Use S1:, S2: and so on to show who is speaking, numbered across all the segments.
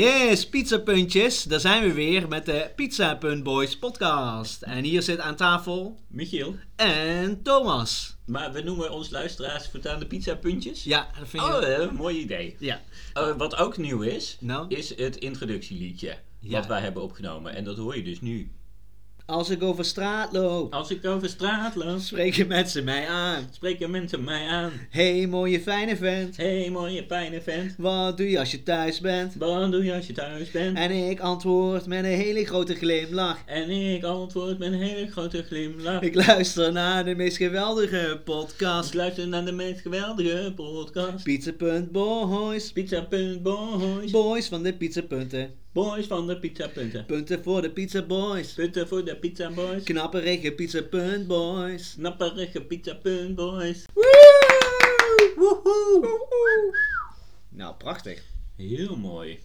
S1: Yes, pizzapuntjes. Daar zijn we weer met de Pizza Punt Boys podcast. En hier zit aan tafel
S2: Michiel,
S1: en Thomas.
S2: maar we noemen ons luisteraars voortaan de pizzapuntjes?
S1: Ja, dat vind je...
S2: Oh, eh, mooi idee.
S1: Ja.
S2: Eh, wat ook nieuw is,
S1: Nou,
S2: is het introductieliedje.
S1: Ja.
S2: Wat wij hebben opgenomen. En dat hoor je dus nu.
S1: als ik over straat loop,
S2: Als ik over straat loop,
S1: spreken mensen mij aan.
S2: spreken mensen mij aan.
S1: Hey, mooie fijne vent.
S2: Hé, hey, mooie fijne vent.
S1: Wat doe je als je thuis bent?
S2: Wat doe je als je thuis bent?
S1: En ik antwoord met een hele grote glimlach.
S2: En ik antwoord met een hele grote glimlach.
S1: Ik luister naar de meest geweldige
S2: Ik
S1: podcast.
S2: luister naar de meest geweldige podcast.
S1: Pizza Punt Boys.
S2: Pizza.boys.
S1: Boys van de pizzapunten.
S2: Boys van de pizzapunten.
S1: Punten voor de pizza boys.
S2: Punten voor de pizza boys.
S1: Knapperige pizza punt boys.
S2: Knapperige pizza.boys.
S1: Nou, prachtig.
S2: Heel mooi.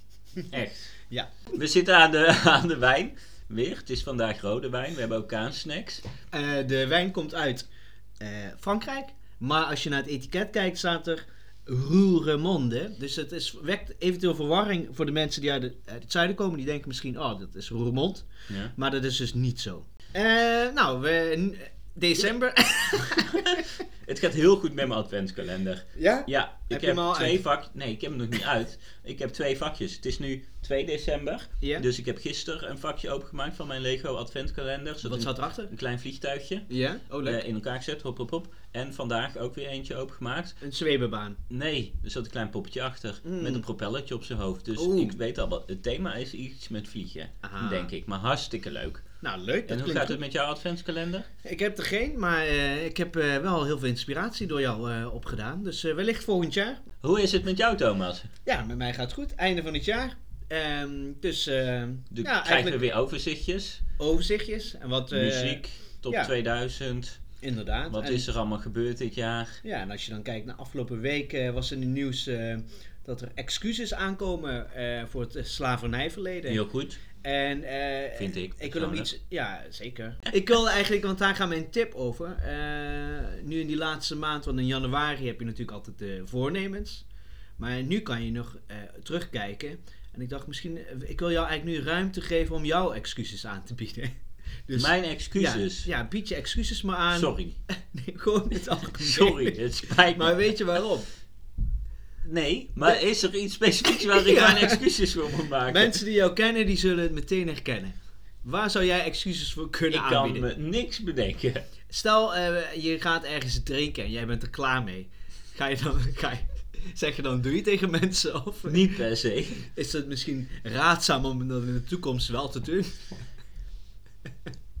S2: Echt.
S1: Ja.
S2: We zitten aan de, aan de wijn. Weer. Het is vandaag rode wijn. We hebben ook kaansnacks.
S1: Eh, de wijn komt uit eh, Frankrijk. Maar als je naar het etiket kijkt, staat er Roeremonde. Dus het is, wekt eventueel verwarring voor de mensen die uit, het- uit het zuiden komen. Die denken misschien, oh, dat is Roermond.
S2: Ja.
S1: Maar dat is dus niet zo. Eh, nou, we, december.
S2: Het gaat heel goed met mijn adventskalender.
S1: Ja?
S2: Ja, ik
S1: Heb
S2: heb,
S1: je hem al
S2: twee
S1: uit?
S2: vakjes. Nee, ik heb hem nog niet uit. Ik heb twee vakjes. Het is nu 2 december.
S1: Ja.
S2: Dus ik heb gisteren een vakje opengemaakt van mijn Lego adventkalender. Zodat
S1: Wat
S2: een,
S1: zat erachter?
S2: een klein vliegtuigje
S1: Ja? Oh, leuk.
S2: eh, in elkaar gezet. Hop, hop, hop. En vandaag ook weer eentje opengemaakt.
S1: Een zwebenbaan.
S2: Nee, er zat een klein poppetje achter.
S1: Mm.
S2: Met een propellertje op zijn hoofd. Dus
S1: Oeh.
S2: ik weet al wat. Het thema is iets met vliegen,
S1: Aha.
S2: denk ik. Maar hartstikke leuk.
S1: Nou, leuk. Dat
S2: en hoe
S1: klinkt
S2: gaat
S1: goed.
S2: het met jouw adventskalender?
S1: Ik heb er geen, maar eh, ik heb eh, wel heel veel inspiratie door jou eh, opgedaan. Dus eh, wellicht volgend jaar.
S2: Hoe is het met jou, Thomas?
S1: Ja, met mij gaat het goed. Einde van het jaar. Ehm, dus eh,
S2: De,
S1: ja,
S2: krijgen
S1: eigenlijk
S2: we weer overzichtjes?
S1: overzichtjes. En wat, eh,
S2: Muziek, top
S1: ja.
S2: 2000.
S1: Inderdaad.
S2: Wat
S1: En-
S2: is er allemaal gebeurd dit jaar?
S1: Ja, en als je dan kijkt naar afgelopen week eh, was in het nieuws eh, dat er excuses aankomen eh, voor het eh, slavernijverleden.
S2: Heel goed.
S1: En, eh,
S2: Vind ik,
S1: Ik wil hem
S2: persoonlijk.
S1: iets. Ja, zeker. ik wil eigenlijk, want daar gaat mijn tip over. Eh, nu in die laatste maand, want in januari heb je natuurlijk altijd de voornemens. Maar nu kan je nog eh, terugkijken. En ik dacht misschien, eh, ik wil jou eigenlijk nu ruimte geven om jouw excuses aan te bieden. Dus,
S2: Mijn excuses.
S1: Ja, ja, bied je excuses maar aan.
S2: Sorry.
S1: Nee, gewoon het algemeen.
S2: Sorry, het spijt me.
S1: Maar weet je waarom?
S2: Nee, maar is er iets specifieks waar ik
S1: Ja.
S2: mijn excuses voor moet maken?
S1: Mensen die jou kennen, die zullen het meteen herkennen. Waar zou jij excuses voor kunnen
S2: ik
S1: aanbieden?
S2: kan me niks bedenken.
S1: Stel, eh, je gaat ergens drinken en jij bent er klaar mee. Ga je dan, ga je, zeg je dan doei tegen mensen? Of
S2: Niet per se.
S1: is het misschien raadzaam om dat in de toekomst wel te doen?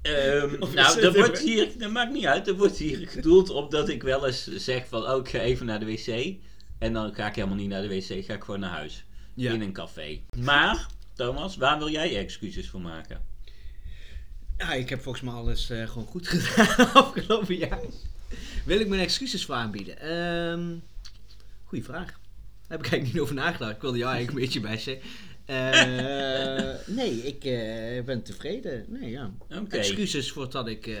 S2: Ehm,
S1: Of is
S2: nou,
S1: het
S2: dat,
S1: een-
S2: wordt hier, dat maakt niet uit. Dat wordt hier gedoeld op dat ik wel eens zeg van... Oh, ik ga even naar de wc. En dan ga ik helemaal niet naar de wc. Ga ik gewoon naar huis.
S1: Ja.
S2: In een café. Maar, Thomas, waar wil jij je excuses voor maken?
S1: Ja, ik heb volgens mij alles eh, gewoon goed gedaan afgelopen jaar. Wil ik mijn excuses voor aanbieden? Ehm goeie vraag. Daar heb ik eigenlijk niet over nagedacht. Ik wilde jou eigenlijk een beetje bashen. Eh, nee, ik eh, ben tevreden. Nee, ja.
S2: Oké.
S1: Excuses voor dat ik eh,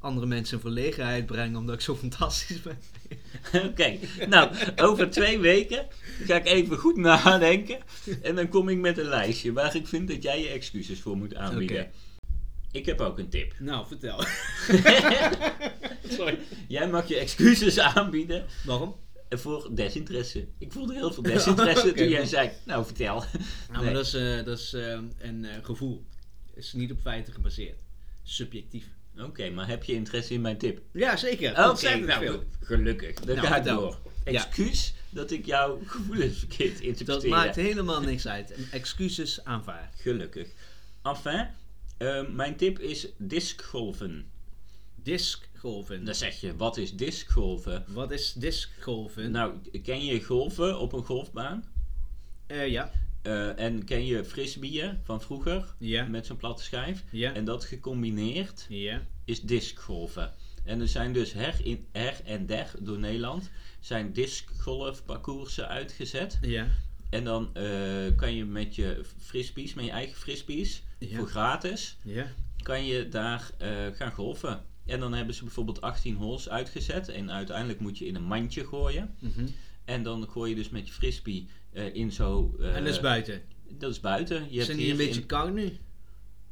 S1: andere mensen in verlegenheid breng omdat ik zo fantastisch ben.
S2: Oké. Nou, over twee weken ga ik even goed nadenken. En dan kom ik met een lijstje waar ik vind dat jij je excuses voor moet aanbieden.
S1: Oké.
S2: Ik heb ook een tip.
S1: Nou, vertel. Sorry.
S2: Jij mag je excuses aanbieden
S1: Waarom?
S2: voor desinteresse. Ik voelde heel veel desinteresse
S1: Oké.
S2: toen jij zei, nou vertel.
S1: Nou,
S2: Nee.
S1: maar dat is, eh, dat is eh, een eh, gevoel. Is niet op feiten gebaseerd. Subjectief.
S2: Oké, maar heb je interesse in mijn tip?
S1: Ja, zeker.
S2: Oké,
S1: Oh, Ontzettend
S2: nou
S1: veel.
S2: gelukkig. Dan
S1: Nou,
S2: ga ik
S1: vertel.
S2: door.
S1: Ja.
S2: Excuus dat ik jouw gevoelens verkeerd interpreteer.
S1: Dat maakt helemaal niks uit. Excuses aanvaard.
S2: Gelukkig. Enfin, eh, mijn tip is discgolven.
S1: Discgolven.
S2: Dan zeg je, wat is discgolven?
S1: Wat is discgolven?
S2: Nou, ken je golven op een golfbaan?
S1: Eh, ja.
S2: Eh, en ken je frisbeeën van vroeger?
S1: Ja.
S2: Met zo'n platte schijf?
S1: Ja.
S2: En dat gecombineerd
S1: Ja.
S2: is discgolven. En er zijn dus her, in, her en der door Nederland zijn discgolfparcoursen uitgezet.
S1: Ja.
S2: En dan eh, kan je met je frisbees, met je eigen frisbees,
S1: Ja.
S2: voor gratis,
S1: Ja.
S2: kan je daar eh, gaan golven. En dan hebben ze bijvoorbeeld 18 holes uitgezet. En uiteindelijk moet je in een mandje gooien.
S1: Mhm.
S2: En dan gooi je dus met je frisbee eh, in zo... eh,
S1: en dat is buiten.
S2: dat is buiten. Je hebt
S1: Zijn die een
S2: hier
S1: beetje
S2: in-
S1: koud nu?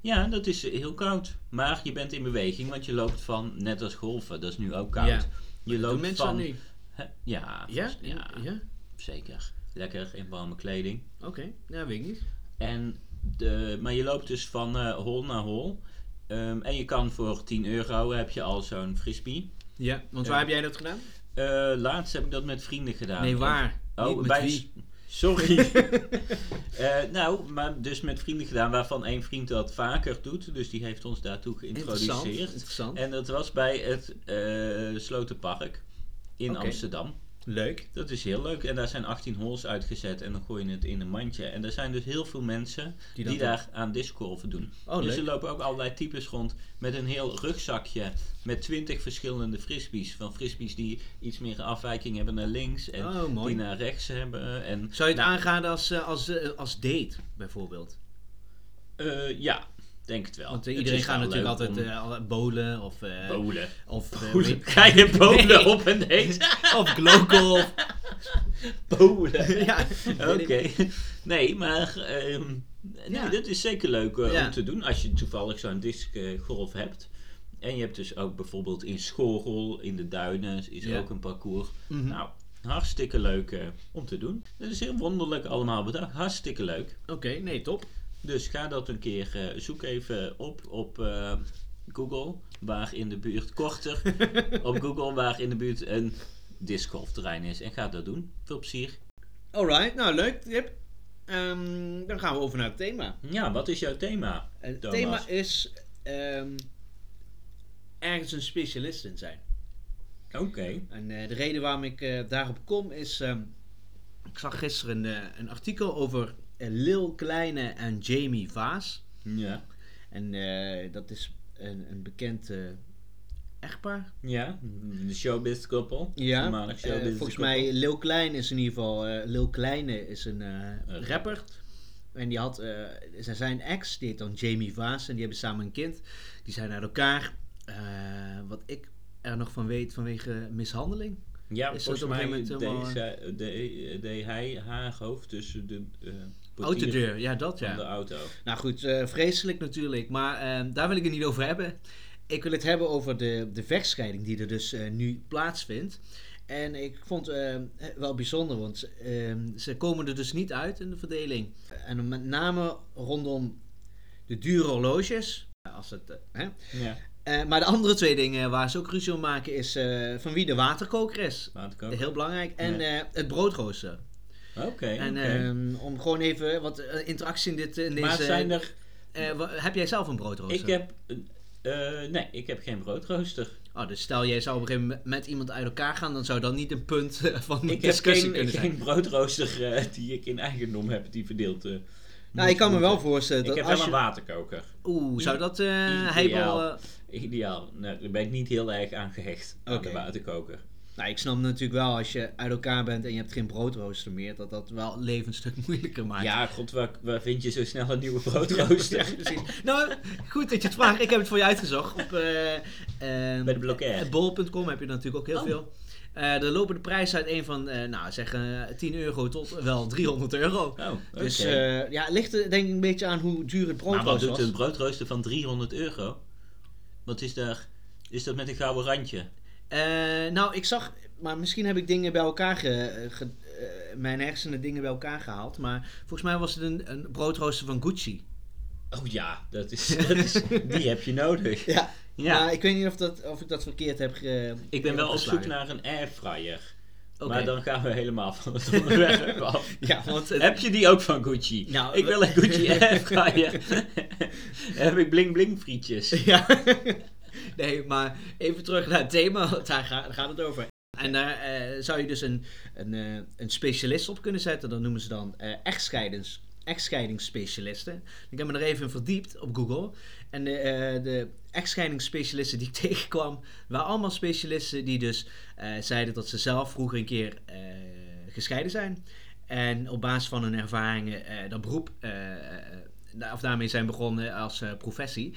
S2: Ja, dat is eh, heel koud. Maar je bent in beweging, want je loopt van, net als golven, dat is nu ook koud.
S1: Ja.
S2: Je
S1: Doen
S2: loopt
S1: mensen dat
S2: van...
S1: nu?
S2: Hè? Ja,
S1: Ja?
S2: vast-
S1: Ja? ja?
S2: zeker. Lekker in warme kleding.
S1: Oké, ja, weet ik niet.
S2: En de, maar je loopt dus van eh, hol naar hol. Ehm, en je kan voor 10 euro heb je al zo'n frisbee.
S1: Ja, want waar
S2: Ja.
S1: heb jij dat gedaan?
S2: Eh, laatst heb ik dat met vrienden gedaan.
S1: nee, waar?
S2: Oh,
S1: niet met
S2: bij-
S1: wie.
S2: Sorry. Eh, nou, maar dus met vrienden gedaan, waarvan één vriend dat vaker doet. Dus die heeft ons daartoe
S1: Interessant.
S2: geïntroduceerd.
S1: Interessant.
S2: En dat was bij het eh, Slotenpark in
S1: Oké.
S2: Amsterdam.
S1: Leuk.
S2: Dat is heel leuk. En daar zijn 18 holes uitgezet en dan gooi je het in een mandje. En er zijn dus heel veel mensen
S1: Die
S2: die,
S1: dat doen.
S2: daar aan discgolven doen.
S1: Oh,
S2: dus
S1: leuk.
S2: er lopen ook allerlei types rond met een heel rugzakje met 20 verschillende frisbees. Van frisbees die iets meer een afwijking hebben naar links en
S1: Oh, mooi.
S2: die naar rechts hebben. En,
S1: Zou je het aangaan als, eh, als, eh, als date, bijvoorbeeld?
S2: Eh, ja, denk het wel.
S1: Want eh,
S2: Het
S1: iedereen
S2: is
S1: gaat
S2: wel
S1: natuurlijk
S2: leuk
S1: altijd
S2: om
S1: eh, alle- bowlen of... eh,
S2: Bolen.
S1: Of, eh,
S2: Bolen.
S1: weet-
S2: Ga je bolen
S1: Nee.
S2: op en date?
S1: of glowgolf.
S2: bolen.
S1: ja,
S2: Oké.
S1: weet ik.
S2: Nee, maar ehm, nee,
S1: Ja.
S2: dat is zeker leuk eh,
S1: Ja.
S2: om te doen als je toevallig zo'n discgolf hebt. En je hebt dus ook bijvoorbeeld in Schorrel, in de duinen, is
S1: Ja.
S2: ook een parcours.
S1: Mhm.
S2: Nou, hartstikke leuk eh, om te doen. Dat is heel wonderlijk allemaal bedacht. Hartstikke leuk.
S1: Oké, nee, top.
S2: Dus ga dat een keer, eh, zoek even op op eh, Google, waar in de buurt, korter, op Google, waar in de buurt een discgolfterrein is. En ga dat doen. Veel plezier.
S1: Alright, nou leuk, tip. Ehm, dan gaan we over naar het thema. Eh,
S2: Ja, wat is jouw thema?
S1: Het
S2: Thomas?
S1: thema is ehm, ergens een specialist in zijn.
S2: Oké.
S1: En eh, de reden waarom ik eh, daarop kom is, ehm, ik zag gisteren eh, een artikel over eh, Lil Kleine en Jamie Vaas.
S2: Ja.
S1: En eh, dat is een, een bekend eh, echtpaar.
S2: Ja, de showbiz koppel.
S1: Ja,
S2: Voormalig
S1: eh,
S2: showbiz
S1: volgens
S2: koppel.
S1: mij Lil Klein is in ieder geval, eh, Lil Kleine is een eh,
S2: rapper.
S1: rapper. En die had, eh, zijn- zijn ex, die heet dan Jamie Vaas en die hebben samen een kind. Die zijn uit elkaar. Eh, wat ik er nog van weet vanwege mishandeling.
S2: Ja,
S1: is dat
S2: volgens
S1: op een
S2: mij
S1: gegeven
S2: deed,
S1: moment
S2: zij- deed- deed hij haar hoofd tussen de eh portier
S1: Autodeur, ja dat
S2: van de
S1: ja.
S2: auto.
S1: Nou goed, eh, vreselijk natuurlijk, maar eh, daar wil ik het niet over hebben. Ik wil het hebben over de, de vechtscheiding die er dus eh, nu plaatsvindt. En ik vond het wel bijzonder, want eh, ze komen er dus niet uit in de verdeling. En met name rondom de dure horloges. Als het, eh, hè.
S2: Ja,
S1: Eh, maar de andere twee dingen waar ze ook ruzie om maken is eh, van wie de waterkoker is.
S2: waterkoker.
S1: Heel belangrijk. En eh, het broodrooster.
S2: Oké,
S1: En
S2: oké.
S1: ehm, om gewoon even wat eh, interactie in, dit, in deze...
S2: maar zijn er...
S1: Eh, wa- heb jij zelf een broodrooster?
S2: Ik heb... eh, eh, nee, ik heb geen broodrooster.
S1: Oh, dus stel jij zou op een gegeven moment met iemand uit elkaar gaan, dan zou dat niet een punt eh, van
S2: Ik heb
S1: discussie
S2: geen,
S1: kunnen zijn.
S2: geen broodrooster eh, die ik in eigendom heb, die verdeeld... eh,
S1: Nou, ik
S2: moet
S1: kan me wel
S2: worden.
S1: voorstellen dat
S2: Ik heb
S1: als
S2: wel een
S1: je...
S2: waterkoker.
S1: Oeh, zou dat eh heibel...
S2: Ideaal.
S1: eh,
S2: Ideaal. Nou, daar ben ik niet heel erg aan gehecht. Aan
S1: Oké.
S2: de waterkoker.
S1: Nou, ik snap natuurlijk wel, als je uit elkaar bent en je hebt geen broodrooster meer, dat dat wel het leven een stuk moeilijker maakt.
S2: Ja, god, waar, waar vind je zo snel een nieuwe broodrooster?
S1: Ja, precies. Nou, goed dat je het vraagt. Ik heb het voor je uitgezocht. Op, eh, ehm,
S2: Bij de Blokker.
S1: Bol.com heb je natuurlijk ook heel
S2: Oh.
S1: veel. Eh er lopen de prijzen uit een van, eh, nou zeg, eh, 10 euro tot wel 300 euro.
S2: Oh, oké.
S1: Dus eh, ja, het ligt er denk ik een beetje aan hoe duur het brood
S2: maar wat
S1: was.
S2: doet een broodrooster van 300 euro? Wat is daar... Is dat met een gouden randje?
S1: Eh, nou, ik zag, maar misschien heb ik dingen bij elkaar, ge, ge- eh, mijn hersenen dingen bij elkaar gehaald. Maar volgens mij was het een, een broodrooster van Gucci.
S2: Oh ja, dat is, dat is- die heb je nodig.
S1: Ja.
S2: Ja.
S1: Maar ik weet niet of, dat, of ik dat verkeerd heb ge,
S2: Ik ben wel op zoek
S1: opgeslagen.
S2: naar een airfryer.
S1: Oké.
S2: Maar dan gaan we helemaal van het onderwerp af.
S1: Ja, want het-
S2: Heb je die ook van Gucci?
S1: Nou,
S2: ik
S1: we-
S2: wil een Gucci airfryer. heb ik bling bling frietjes.
S1: Ja. Nee, maar even terug naar het thema, want daar ga- daar gaat het over. En daar eh, zou je dus een, een, eh, een specialist op kunnen zetten. Dat noemen ze dan eh echtscheidens, echtscheidingsspecialisten. Ik heb me er even in verdiept op Google. En de, eh, de echtscheidingsspecialisten die ik tegenkwam, waren allemaal specialisten die dus eh, zeiden dat ze zelf vroeger een keer eh, gescheiden zijn. En op basis van hun ervaringen eh, dat beroep, eh, eh, eh, of daarmee zijn begonnen als eh, professie.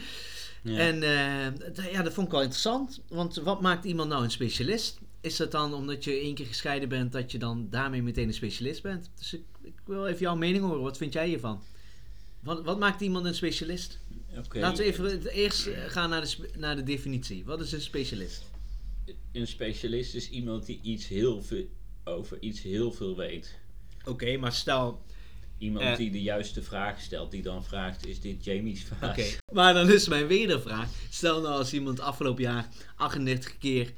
S2: Ja.
S1: En eh, d- ja, dat vond ik wel interessant. Want wat maakt iemand nou een specialist? Is dat dan omdat je één keer gescheiden bent, dat je dan daarmee meteen een specialist bent? Dus ik, ik wil even jouw mening horen. Wat vind jij hiervan? Wat, wat maakt iemand een specialist?
S2: Oké.
S1: Laten we even het eerst eh, gaan naar de, spe- naar de definitie. Wat is een specialist?
S2: Een specialist is iemand die iets heel veel over iets heel veel weet.
S1: Oké, maar stel.
S2: Iemand
S1: Eh.
S2: die de juiste vraag stelt, die dan vraagt: is dit Jamie's vraag?
S1: Oké. Maar dan is mijn wedervraag. Stel nou als iemand afgelopen jaar 38 keer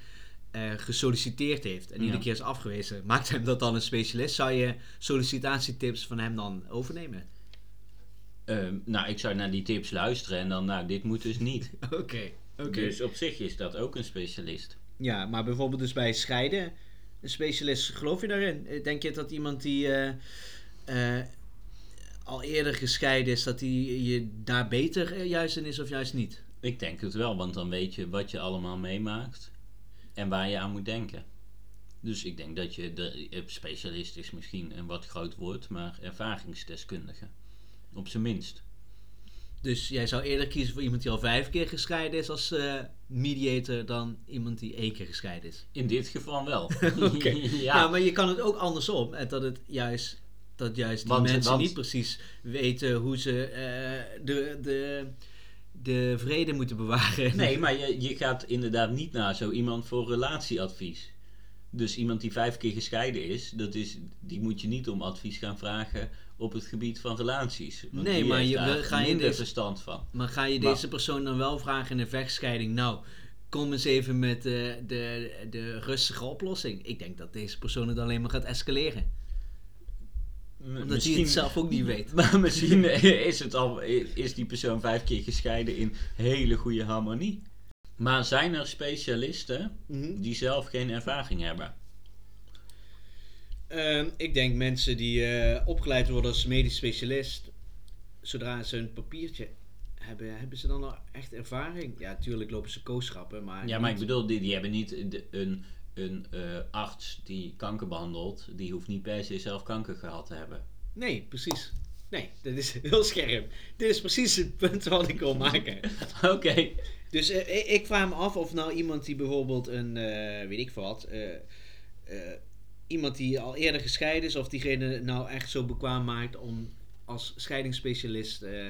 S1: eh, gesolliciteerd heeft en iedere
S2: Ja.
S1: keer is afgewezen, maakt hem dat dan een specialist? Zou je sollicitatietips van hem dan overnemen?
S2: Ehm, nou, ik zou naar die tips luisteren en dan, nou, dit moet dus niet.
S1: Oké, oké.
S2: Dus op zich is dat ook een specialist.
S1: Ja, maar bijvoorbeeld dus bij scheiden, een specialist, geloof je daarin? Eh, Denk je dat iemand die eh, eh, al eerder gescheiden is, dat die je daar beter eh, juist in is of juist niet?
S2: Ik denk het wel, want dan weet je wat je allemaal meemaakt en waar je aan moet denken. Dus ik denk dat je de eh, specialist is misschien een wat groot woord, maar ervaringsdeskundige. Op zijn minst.
S1: Dus jij zou eerder kiezen voor iemand die al vijf keer gescheiden is als eh, mediator dan iemand die één keer gescheiden is.
S2: In dit geval wel.
S1: Oké. Ja. Nou,
S2: ja.
S1: maar je kan het ook andersom. eh, Dat het juist, dat juist die
S2: Want-
S1: mensen
S2: want-
S1: niet precies weten hoe ze eh, de, de, de vrede moeten bewaren.
S2: Nee, maar je, je gaat inderdaad niet naar zo iemand voor relatieadvies. Dus iemand die vijf keer gescheiden is, dat is die moet je niet om advies gaan vragen op het gebied van relaties. Want
S1: Nee,
S2: die
S1: maar
S2: heeft
S1: je-
S2: daar
S1: we gaan je dus-
S2: minder
S1: deze-
S2: verstand van.
S1: Maar ga je
S2: Maar-
S1: deze persoon dan wel vragen in een vechtscheiding? Nou, kom eens even met eh, de, de rustige oplossing. Ik denk dat deze persoon het alleen maar gaat escaleren.
S2: M-
S1: Omdat hij
S2: misschien-
S1: het zelf ook niet weet.
S2: Maar misschien is, het al, is die persoon vijf keer gescheiden in hele goede harmonie. Maar zijn er specialisten
S1: Mhm.
S2: die zelf geen ervaring hebben?
S1: Ehm, ik denk mensen die eh, opgeleid worden als medisch specialist, zodra ze een papiertje hebben, hebben ze dan al echt ervaring? Ja, tuurlijk lopen ze kooschappen, maar...
S2: Ja, maar ik
S1: niet-
S2: bedoel, die, die hebben niet de- een, een eh, arts die kanker behandelt. Die hoeft niet per se zelf kanker gehad te hebben.
S1: Nee, precies. Nee, dat is heel scherp. Dit is precies het punt wat ik wil maken.
S2: Oké.
S1: Dus eh, ik- ik vraag me af of nou iemand die bijvoorbeeld een, eh, weet ik veel wat, eh, eh, iemand die al eerder gescheiden is, of diegene nou echt zo bekwaam maakt om als scheidingsspecialist eh,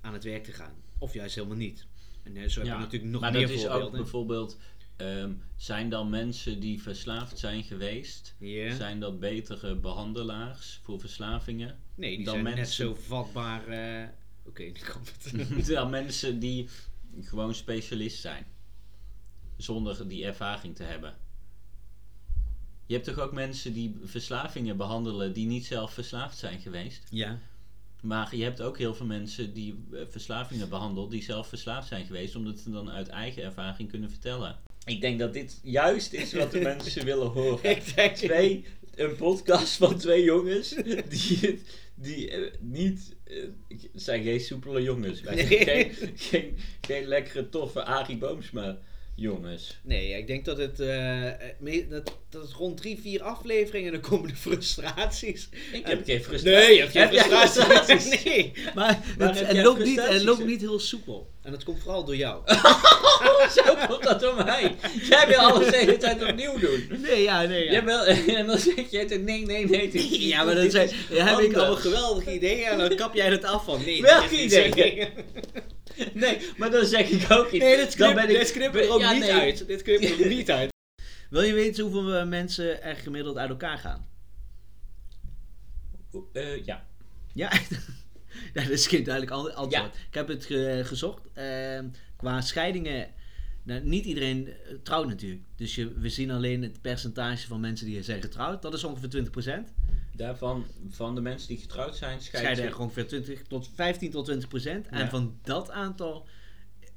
S1: aan het werk te gaan. Of juist helemaal niet. En eh, zo heb je natuurlijk nog
S2: maar
S1: meer
S2: dat is ook
S1: voorbeelden.
S2: bijvoorbeeld... ehm, zijn dan mensen die verslaafd zijn geweest...
S1: Ja.
S2: Zijn dat betere behandelaars voor verslavingen?
S1: Nee, die
S2: dan
S1: zijn net
S2: mensen-
S1: zo vatbaar. eh, Oké, nu komt het.
S2: dan mensen die gewoon specialist zijn. Zonder die ervaring te hebben. Je hebt toch ook mensen die verslavingen behandelen die niet zelf verslaafd zijn geweest?
S1: ja.
S2: Maar je hebt ook heel veel mensen die eh, verslavingen behandelen die zelf verslaafd zijn geweest, omdat ze dan uit eigen ervaring kunnen vertellen. Ik denk dat dit juist is wat de mensen willen horen.
S1: Ik denk-
S2: twee, een podcast van twee jongens die, het- die eh, niet. eh, het zijn geen soepele jongens. Wij zijn
S1: Nee.
S2: geen, geen, geen lekkere, toffe Arie Boomsma jongens.
S1: Nee, ik denk dat het, eh, eh, me- dat, dat het rond drie, vier afleveringen, dan komen de frustraties.
S2: Ik
S1: En-
S2: heb geen frustratie.
S1: Nee, je hebt geen
S2: Heb jij
S1: frustraties.
S2: frustraties?
S1: Nee. Maar
S2: Waar
S1: het,
S2: heb
S1: en
S2: jij
S1: loopt niet, en
S2: frustraties
S1: loopt
S2: in?
S1: niet heel soepel. En dat komt vooral door jou.
S2: Oh, Zo komt dat door mij. Jij wil alles de hele tijd opnieuw doen.
S1: Nee, ja, nee.
S2: Jij wil, en dan zeg jij tegen nee, nee, nee. dit is-
S1: Ja, maar dan
S2: dit
S1: zijn,
S2: is
S1: ja, heb ik
S2: handig.
S1: allemaal geweldige ideeën en dan kap jij het af van. Nee,
S2: Welke
S1: dat is niet zo.
S2: ideeën? Nee, maar dan zeg ik ook iets.
S1: Nee, dit
S2: dan
S1: knippen dit knippen we er ook
S2: ja,
S1: niet
S2: nee.
S1: uit. Dit knippen we er niet uit. Wil je weten hoeveel eh, mensen er gemiddeld uit elkaar gaan?
S2: Eh, ja.
S1: Ja, ja dat is geen duidelijk ant- antwoord. Ik heb het ge- gezocht. Ehm, qua scheidingen, nou, niet iedereen eh, trouwt natuurlijk. Dus je, we zien alleen het percentage van mensen die zijn getrouwd. Dat is ongeveer 20 procent.
S2: Daarvan, van de mensen die getrouwd zijn, scheiden
S1: Scheiden
S2: ze-
S1: er ongeveer 20 tot 15 tot 20 procent. En
S2: Ja.
S1: van dat aantal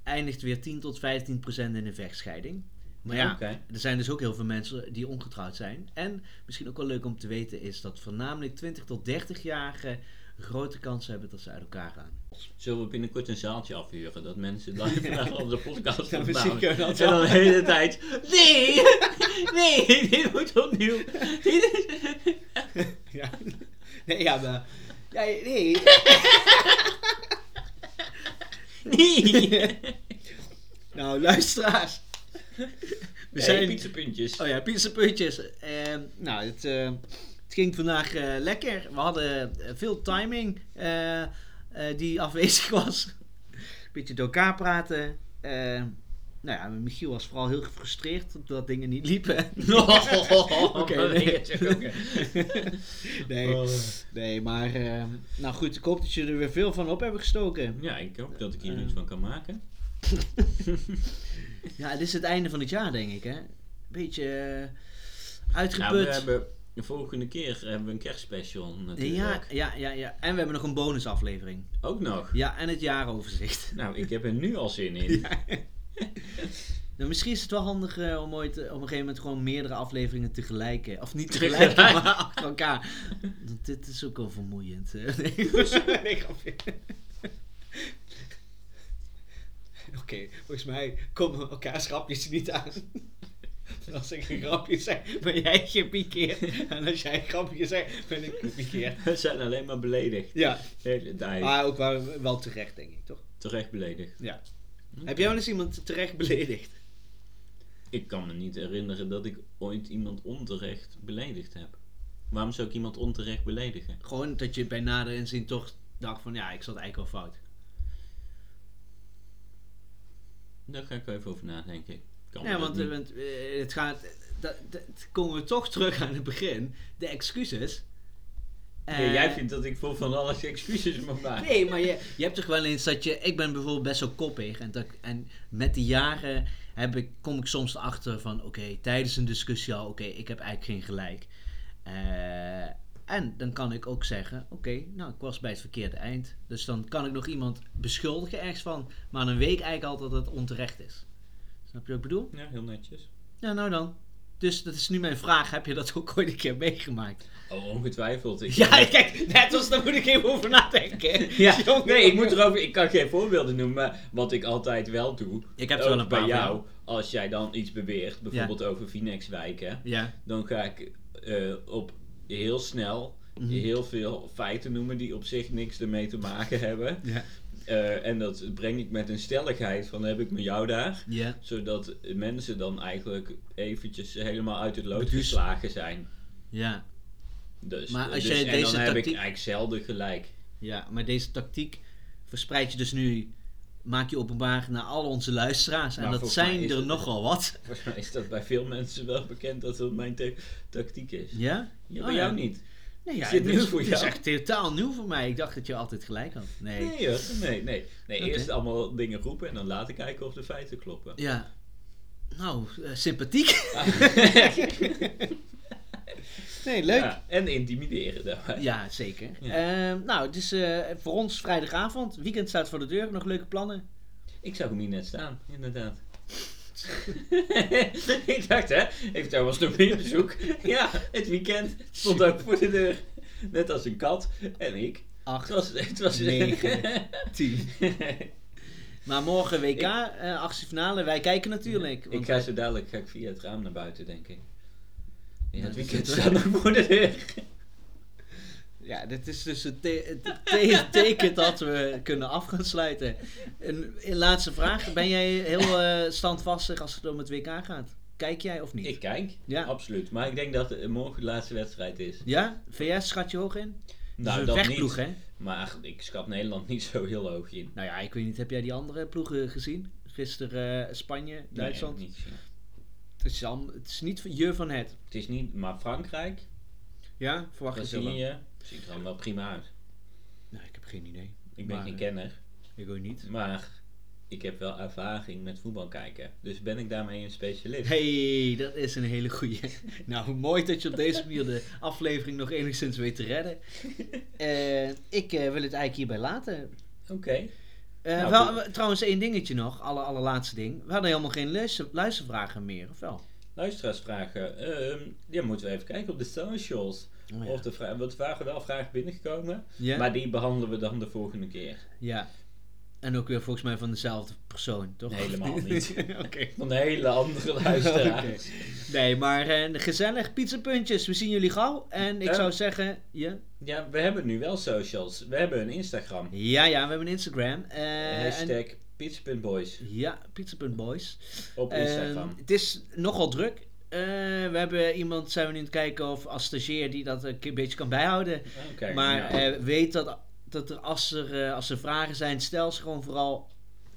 S1: eindigt weer 10 tot 15 procent in een vechtscheiding. Maar ja,
S2: Oké.
S1: er zijn dus ook heel veel mensen die ongetrouwd zijn. En misschien ook wel leuk om te weten is dat voornamelijk 20 tot 30-jarigen grote kans hebben dat ze uit elkaar gaan.
S2: Zullen we binnenkort een zaaltje afhuren? Dat mensen live naar onze podcast
S1: Ja,
S2: opbouwen.
S1: misschien kunnen we dat
S2: En dan
S1: wel.
S2: de hele tijd... Nee! Nee, dit moet opnieuw. Dit is-
S1: Ja. Nee, ja, maar... Ja, nee.
S2: Nee!
S1: Nou, luisteraars. We
S2: Hey,
S1: zijn-
S2: pizzapuntjes.
S1: Oh ja, pizzapuntjes. Ehm nou, het, eh, het ging vandaag eh, lekker. We hadden eh, veel timing eh, eh, die afwezig was. Beetje door elkaar praten. Eh, nou ja, Michiel was vooral heel gefrustreerd omdat dingen niet liepen.
S2: Oh,
S1: Oké, nee. Oh, nee, nee, maar eh, nou goed, ik hoop dat jullie er weer veel van op hebben gestoken.
S2: Ja, ik hoop dat ik hier
S1: Eh.
S2: iets van kan maken.
S1: Ja, dit is het einde van het jaar, denk ik, hè? Beetje eh,
S2: Nou, we
S1: uitgeput.
S2: hebben de volgende keer hebben we een kerstspecial
S1: ja,
S2: natuurlijk.
S1: ja, ja, ja. En we hebben nog een bonusaflevering.
S2: Ook nog.
S1: Ja, en het jaaroverzicht.
S2: Nou, ik heb er nu al zin in.
S1: Nou, misschien is het wel handig eh, om ooit eh, op een gegeven moment gewoon meerdere afleveringen tegelijk. eh, of niet
S2: Tegelijk.
S1: tegelijk, maar achter elkaar. Want dit is ook wel vermoeiend. eh. Nee, nee, grapje. Oké, volgens mij komen elkaars grapjes niet aan. En Als ik een grapje zeg, ben jij gepikeerd. En als jij een grapje zegt, ben ik gepikeerd.
S2: We zijn alleen maar beledigd.
S1: Ja,
S2: De hele tijd.
S1: maar ook wel, wel terecht, denk ik, toch?
S2: Terecht beledigd.
S1: Ja.
S2: Oké.
S1: Heb jij wel eens iemand terecht beledigd?
S2: Ik kan me niet herinneren dat ik ooit iemand onterecht beledigd heb. Waarom zou ik iemand onterecht beledigen?
S1: Gewoon dat je bij nader inzien toch dacht van ja, ik zat eigenlijk wel fout.
S2: Daar ga ik wel even over nadenken. Kan me
S1: Ja,
S2: dat
S1: want,
S2: niet.
S1: eh, want, eh, het gaat. Dat, dat komen we toch terug aan het begin. De excuses.
S2: Nee,
S1: Eh,
S2: jij vindt dat ik voor van alles excuses mag maken.
S1: Nee, maar je, je hebt toch wel eens dat je. Ik ben bijvoorbeeld best wel koppig. En, dat, en met de jaren heb ik, kom ik soms erachter van: oké, tijdens een discussie al, oké, ik heb eigenlijk geen gelijk. Eh, en dan kan ik ook zeggen: oké, nou, ik was bij het verkeerde eind. Dus dan kan ik nog iemand beschuldigen ergens van. Maar dan weet ik eigenlijk al dat het onterecht is. Snap je wat ik bedoel?
S2: Ja, heel netjes.
S1: Ja, nou dan. Dus dat is nu mijn vraag. Heb je dat ook ooit een keer meegemaakt?
S2: Oh, ongetwijfeld. Ik
S1: Ja, kijk, net als daar moet ik even over nadenken.
S2: Ja,
S1: Jongen,
S2: nee, ik
S1: jongen.
S2: moet erover. Ik kan geen voorbeelden noemen, maar wat ik altijd wel doe.
S1: Ik heb er wel
S2: ook
S1: een paar
S2: bij
S1: van
S2: jou. Als jij dan iets beweert, bijvoorbeeld over Finex-wijken,
S1: Ja,
S2: dan ga ik eh, op heel snel
S1: Mhm.
S2: heel veel feiten noemen die op zich niks ermee te maken hebben.
S1: ja,
S2: Eh, en dat breng ik met een stelligheid van heb ik met jou daar
S1: ja.
S2: zodat mensen dan eigenlijk eventjes helemaal uit het lood
S1: Beduus-
S2: geslagen zijn.
S1: Ja,
S2: Dus,
S1: Maar als
S2: dus-
S1: jij
S2: en
S1: deze
S2: dan heb ik
S1: tactiek-
S2: eigenlijk zelden gelijk.
S1: ja, maar deze tactiek verspreid je dus nu, maak je openbaar naar al onze luisteraars. En
S2: Maar
S1: dat
S2: volgens mij
S1: zijn
S2: is
S1: er
S2: het-
S1: nogal wat.
S2: Volgens mij is dat bij veel mensen wel bekend dat dat mijn ta- tactiek is.
S1: Ja?
S2: Ja,
S1: Oh,
S2: bij
S1: ja.
S2: jou niet.
S1: Nee,
S2: Is
S1: ja,
S2: dit
S1: dit
S2: nieuw
S1: is,
S2: voor
S1: dit is
S2: jou?
S1: echt totaal nieuw voor mij. Ik dacht dat je altijd gelijk had. Nee.
S2: Nee hoor, nee, nee. nee
S1: Oké.
S2: Eerst allemaal dingen roepen en dan later kijken of de feiten kloppen.
S1: Ja. Nou, eh, sympathiek. nee, leuk.
S2: Ja, en intimideren daarbij.
S1: Ja, zeker.
S2: Ja.
S1: Ehm, nou, het is eh, voor ons vrijdagavond. Weekend staat voor de deur. Nog leuke plannen?
S2: Ik zag hem hier net staan, inderdaad. ik dacht hè, heeft daar was nog meer bezoek. Ja, het weekend stond ook voor de deur. Net als een kat en ik. Het
S1: 8,
S2: was... Het was
S1: 9, 10.
S2: ik
S1: Maar morgen WK, eh achtste finale. Wij kijken natuurlijk. want
S2: ga zo dadelijk ga ik via het raam naar buiten, denk ik. Ja, het
S1: dat is
S2: weekend
S1: het.
S2: staat nog voor de deur.
S1: Ja, dit is dus het, te- het te- teken dat we kunnen af gaan sluiten. Een, een laatste vraag. Ben jij heel eh, standvastig als het om het WK gaat? Kijk jij of niet?
S2: Ik kijk,
S1: Ja.
S2: absoluut. Maar ik denk dat eh, morgen de laatste wedstrijd is.
S1: Ja? VS schat je hoog in?
S2: Nou,
S1: dat
S2: dat
S1: is een vechtploeg,
S2: niet.
S1: hè?
S2: Maar ik schat Nederland niet zo heel hoog in.
S1: Nou ja, ik weet niet. Heb jij die andere ploegen gezien? Gisteren eh, Spanje, Duitsland.
S2: Nee, niet zo.
S1: Het is, al- het is niet je van het.
S2: Het is niet, maar Frankrijk,
S1: Ja, verwacht je wel.
S2: Brazilië, ziet er allemaal prima uit.
S1: Nou, ik heb geen idee.
S2: Ik ben
S1: Maar,
S2: geen
S1: eh,
S2: kenner,
S1: Ik ook niet.
S2: maar ik heb wel ervaring met voetbal kijken. Dus ben ik daarmee een specialist.
S1: Hey, dat is een hele goeie. Nou, mooi dat je op deze manier de aflevering nog enigszins weet te redden. Eh, ik eh, wil het eigenlijk hierbij laten.
S2: Oké.
S1: Eh,
S2: Nou,
S1: wel,
S2: goed.
S1: we- trouwens, één dingetje nog. Alle, allerlaatste ding. We hadden helemaal geen luister, luistervragen meer, of wel?
S2: Luisteraarsvragen. Ehm ja, moeten we even kijken op de socials.
S1: Oh ja.
S2: Of de vragen, want er waren wel vragen binnengekomen.
S1: Ja?
S2: Maar die behandelen we dan de volgende keer.
S1: ja. En ook weer volgens mij van dezelfde persoon, toch?
S2: Helemaal niet.
S1: Oké.
S2: Van een hele andere luisteraar.
S1: Oké. Nee, maar eh, gezellig. Pizzapuntjes. We zien jullie gauw. En ik
S2: Ja.
S1: zou zeggen... Ja.
S2: Ja, we hebben nu wel socials. We hebben een Instagram.
S1: ja, ja, we hebben een Instagram. Eh, en-
S2: Hashtag Pitch.boys
S1: Ja, pizza.boys.
S2: op
S1: Ehm,
S2: Instagram.
S1: het is nogal druk. Eh, we hebben iemand, zijn we nu aan het kijken of als stagiair die dat een ke- beetje kan bijhouden.
S2: Oh, kijk,
S1: maar
S2: nou.
S1: eh, weet dat, dat er als, er, eh, als er vragen zijn, stel ze gewoon vooral.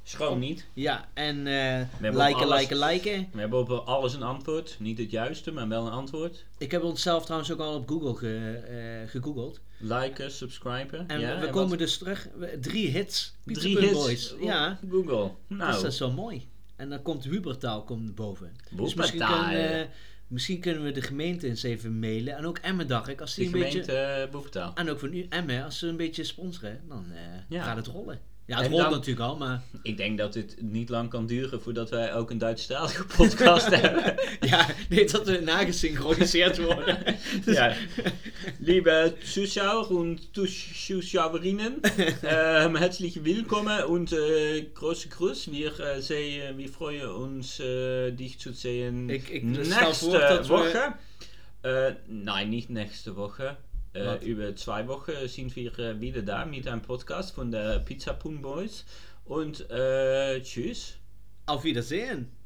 S2: schoon niet.
S1: Ja, en eh
S2: hebben ook
S1: liken,
S2: alles.
S1: liken, liken.
S2: We hebben op alles een antwoord. Niet het juiste, maar wel een antwoord.
S1: Ik heb onszelf trouwens ook al op Google ge, eh, gegoogeld.
S2: Liken, subscriben.
S1: En
S2: ja,
S1: we
S2: en
S1: komen
S2: wat-
S1: dus terug. we- Drie hits.
S2: drie
S1: Pizza.boys.
S2: hits
S1: Boys.
S2: op
S1: Ja,
S2: Google.
S1: dus dat
S2: Nou,
S1: is wel mooi. En dan komt Hubertaal komt boven. Dus misschien
S2: Boepertaal.
S1: kunnen, eh, misschien kunnen we de gemeente eens even mailen. En ook Emmen, dacht ik. Als die
S2: Die
S1: een beetje,
S2: gemeente uh, Boepertaal.
S1: en ook van u, Emmen, als ze een beetje sponsoren, dan eh,
S2: Ja.
S1: gaat het rollen. Ja, het
S2: En
S1: rolt
S2: dan-
S1: natuurlijk al, maar
S2: Ik denk dat dit niet lang kan duren voordat wij ook een Duitsstalige podcast hebben.
S1: ja, nee, dat we nagesynchroniseerd worden.
S2: Ja. Liebe Zuschauer und Zuschauerinnen, ähm, herzlich willkommen und äh, große Grüß. Wir, äh, sehen, wir freuen uns, äh, dich zu sehen
S1: Ik- ik stel
S2: nächste
S1: voor dat we-
S2: Woche. Äh, nein, nicht nächste Woche.
S1: Wat?
S2: Äh, über zwei Wochen sind wir äh, wieder da mit einem Podcast von der Pizza Pun Boys. Und äh, tschüss.
S1: Auf Wiedersehen.